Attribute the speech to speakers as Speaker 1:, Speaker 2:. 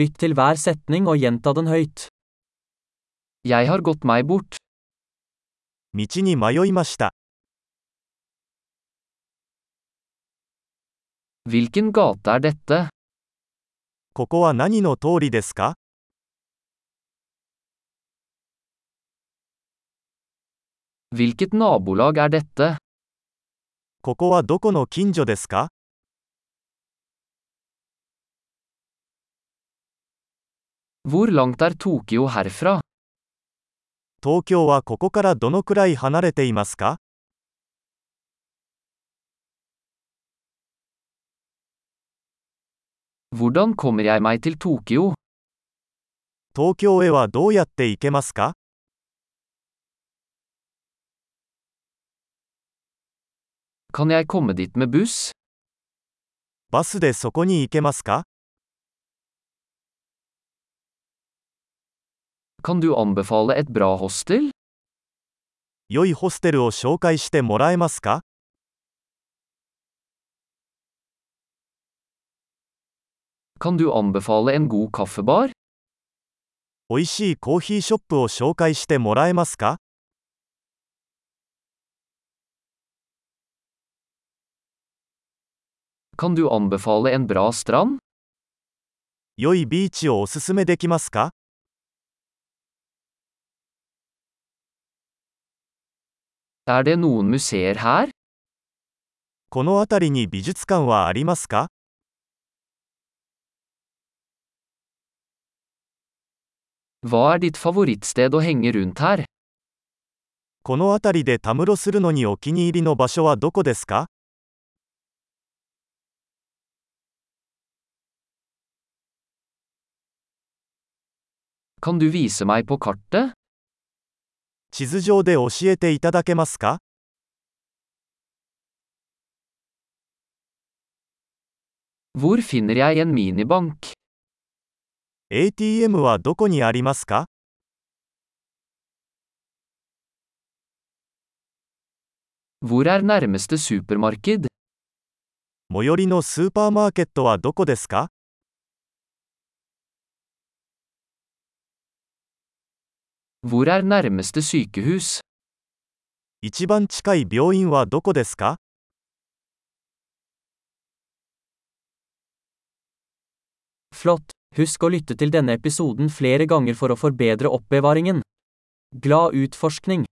Speaker 1: Lytt til hver setning og gjenta den høyt. Jeg har gått meg bort.
Speaker 2: 道に迷いました。
Speaker 1: Hvilken gate er dette?
Speaker 2: ここは何の通りですか
Speaker 1: Hvilket nabolag er dette?
Speaker 2: ここはどこの近所ですか
Speaker 1: Hvor langt er Tokyo herfra?
Speaker 2: 東京はここからどのくらい離れていますか
Speaker 1: Hvordan kommer jeg meg til Tokyo?
Speaker 2: 東京へはどうやって行けますか
Speaker 1: Kan jeg komme dit med buss?
Speaker 2: バスでそこに行けますか
Speaker 1: Kan du anbefale et bra hostel?
Speaker 2: 良いホステルを紹介してもらえますか
Speaker 1: Kan du anbefale en god kaffebar?
Speaker 2: 美味しいコーヒーショップを紹介してもらえますか
Speaker 1: Kan du anbefale en bra strand?
Speaker 2: 良いビーチをおすすめできますか
Speaker 1: Er det noen museer her?
Speaker 2: この辺りに美術館はありますか
Speaker 1: Hva er ditt favorittsted å henge rundt her?
Speaker 2: この辺りでたむろするのにお気に入りの場所はどこですか
Speaker 1: Kan du vise meg på kartet?
Speaker 2: 地図上で教えていただけますか
Speaker 1: Hvor finner jeg en minibank?
Speaker 2: ATM はどこにありますか
Speaker 1: Hvor er nærmeste supermarked?
Speaker 2: 最寄りのスーパーマーケットはどこですか
Speaker 1: Hvor er nærmeste sykehus?
Speaker 2: 一番近い病院はどこですか
Speaker 1: Flott! Husk å lytte til denne episoden flere ganger for å forbedre oppbevaringen. Glad utforskning!